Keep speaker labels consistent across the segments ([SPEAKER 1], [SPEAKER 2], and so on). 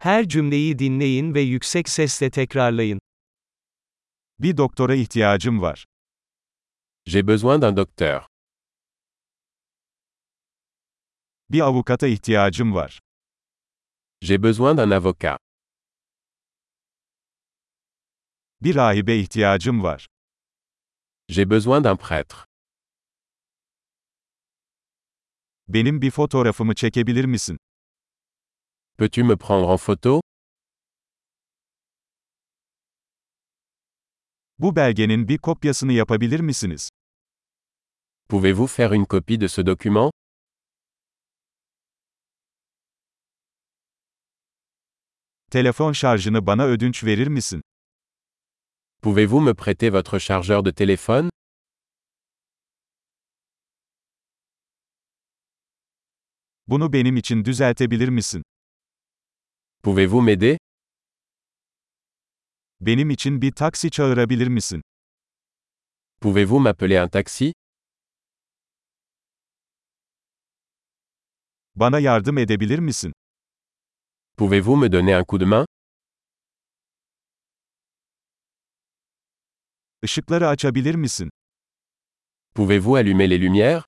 [SPEAKER 1] Her cümleyi dinleyin ve yüksek sesle tekrarlayın.
[SPEAKER 2] Bir doktora ihtiyacım var.
[SPEAKER 3] J'ai besoin d'un docteur.
[SPEAKER 2] Bir avukata ihtiyacım var.
[SPEAKER 3] J'ai besoin d'un avocat.
[SPEAKER 2] Bir rahibe ihtiyacım var.
[SPEAKER 3] J'ai besoin d'un prêtre.
[SPEAKER 2] Benim bir fotoğrafımı çekebilir misin?
[SPEAKER 3] Peux-tu me prendre en photo
[SPEAKER 2] Bu belgenin bir kopyasını yapabilir misiniz?
[SPEAKER 3] Pouvez-vous faire une copie de ce document
[SPEAKER 2] Telefon şarjını bana ödünç verir misin?
[SPEAKER 3] Pouvez-vous me prêter votre chargeur de téléphone
[SPEAKER 2] Bunu benim için düzeltebilir misin?
[SPEAKER 3] Pouvez-vous m'aider
[SPEAKER 2] Benim için bir taksi çağırabilir misin?
[SPEAKER 3] Pouvez-vous m'appeler un taxi
[SPEAKER 2] Bana yardım edebilir misin?
[SPEAKER 3] Pouvez-vous me donner un coup de main
[SPEAKER 2] Işıkları açabilir misin?
[SPEAKER 3] Pouvez-vous allumer les lumières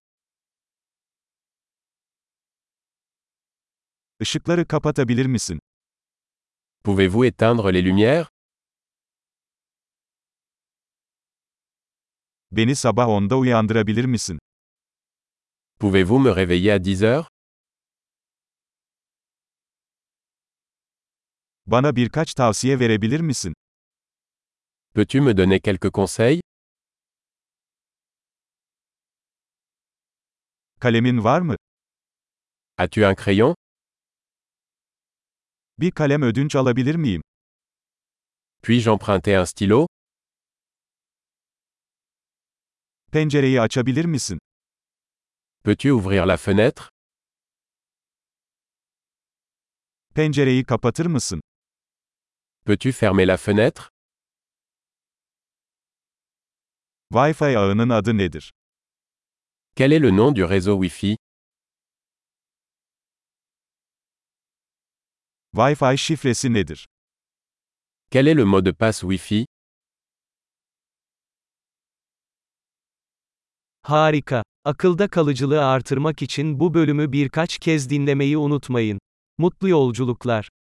[SPEAKER 2] Işıkları kapatabilir misin?
[SPEAKER 3] Pouvez-vous éteindre les lumières
[SPEAKER 2] Beni sabah 10'da uyandırabilir misin?
[SPEAKER 3] Pouvez-vous me réveiller à 10 heures
[SPEAKER 2] Bana birkaç tavsiye verebilir misin?
[SPEAKER 3] Peux-tu me donner quelques conseils
[SPEAKER 2] Kalemin var mı?
[SPEAKER 3] As-tu un crayon
[SPEAKER 2] Bir kalem ödünç alabilir miyim?
[SPEAKER 3] Puis-je emprunter un stylo
[SPEAKER 2] Pencereyi açabilir misin?
[SPEAKER 3] Peux-tu ouvrir la fenêtre
[SPEAKER 2] Pencereyi kapatır mısın?
[SPEAKER 3] Peux-tu fermer la fenêtre
[SPEAKER 2] Wi-Fi ağının adı nedir?
[SPEAKER 3] Quel est le nom du réseau Wi-Fi
[SPEAKER 2] Wi-Fi şifresi nedir?
[SPEAKER 3] Quel est le mot de passe Wi-Fi
[SPEAKER 1] Harika. Akılda kalıcılığı artırmak için bu bölümü birkaç kez dinlemeyi unutmayın. Mutlu yolculuklar.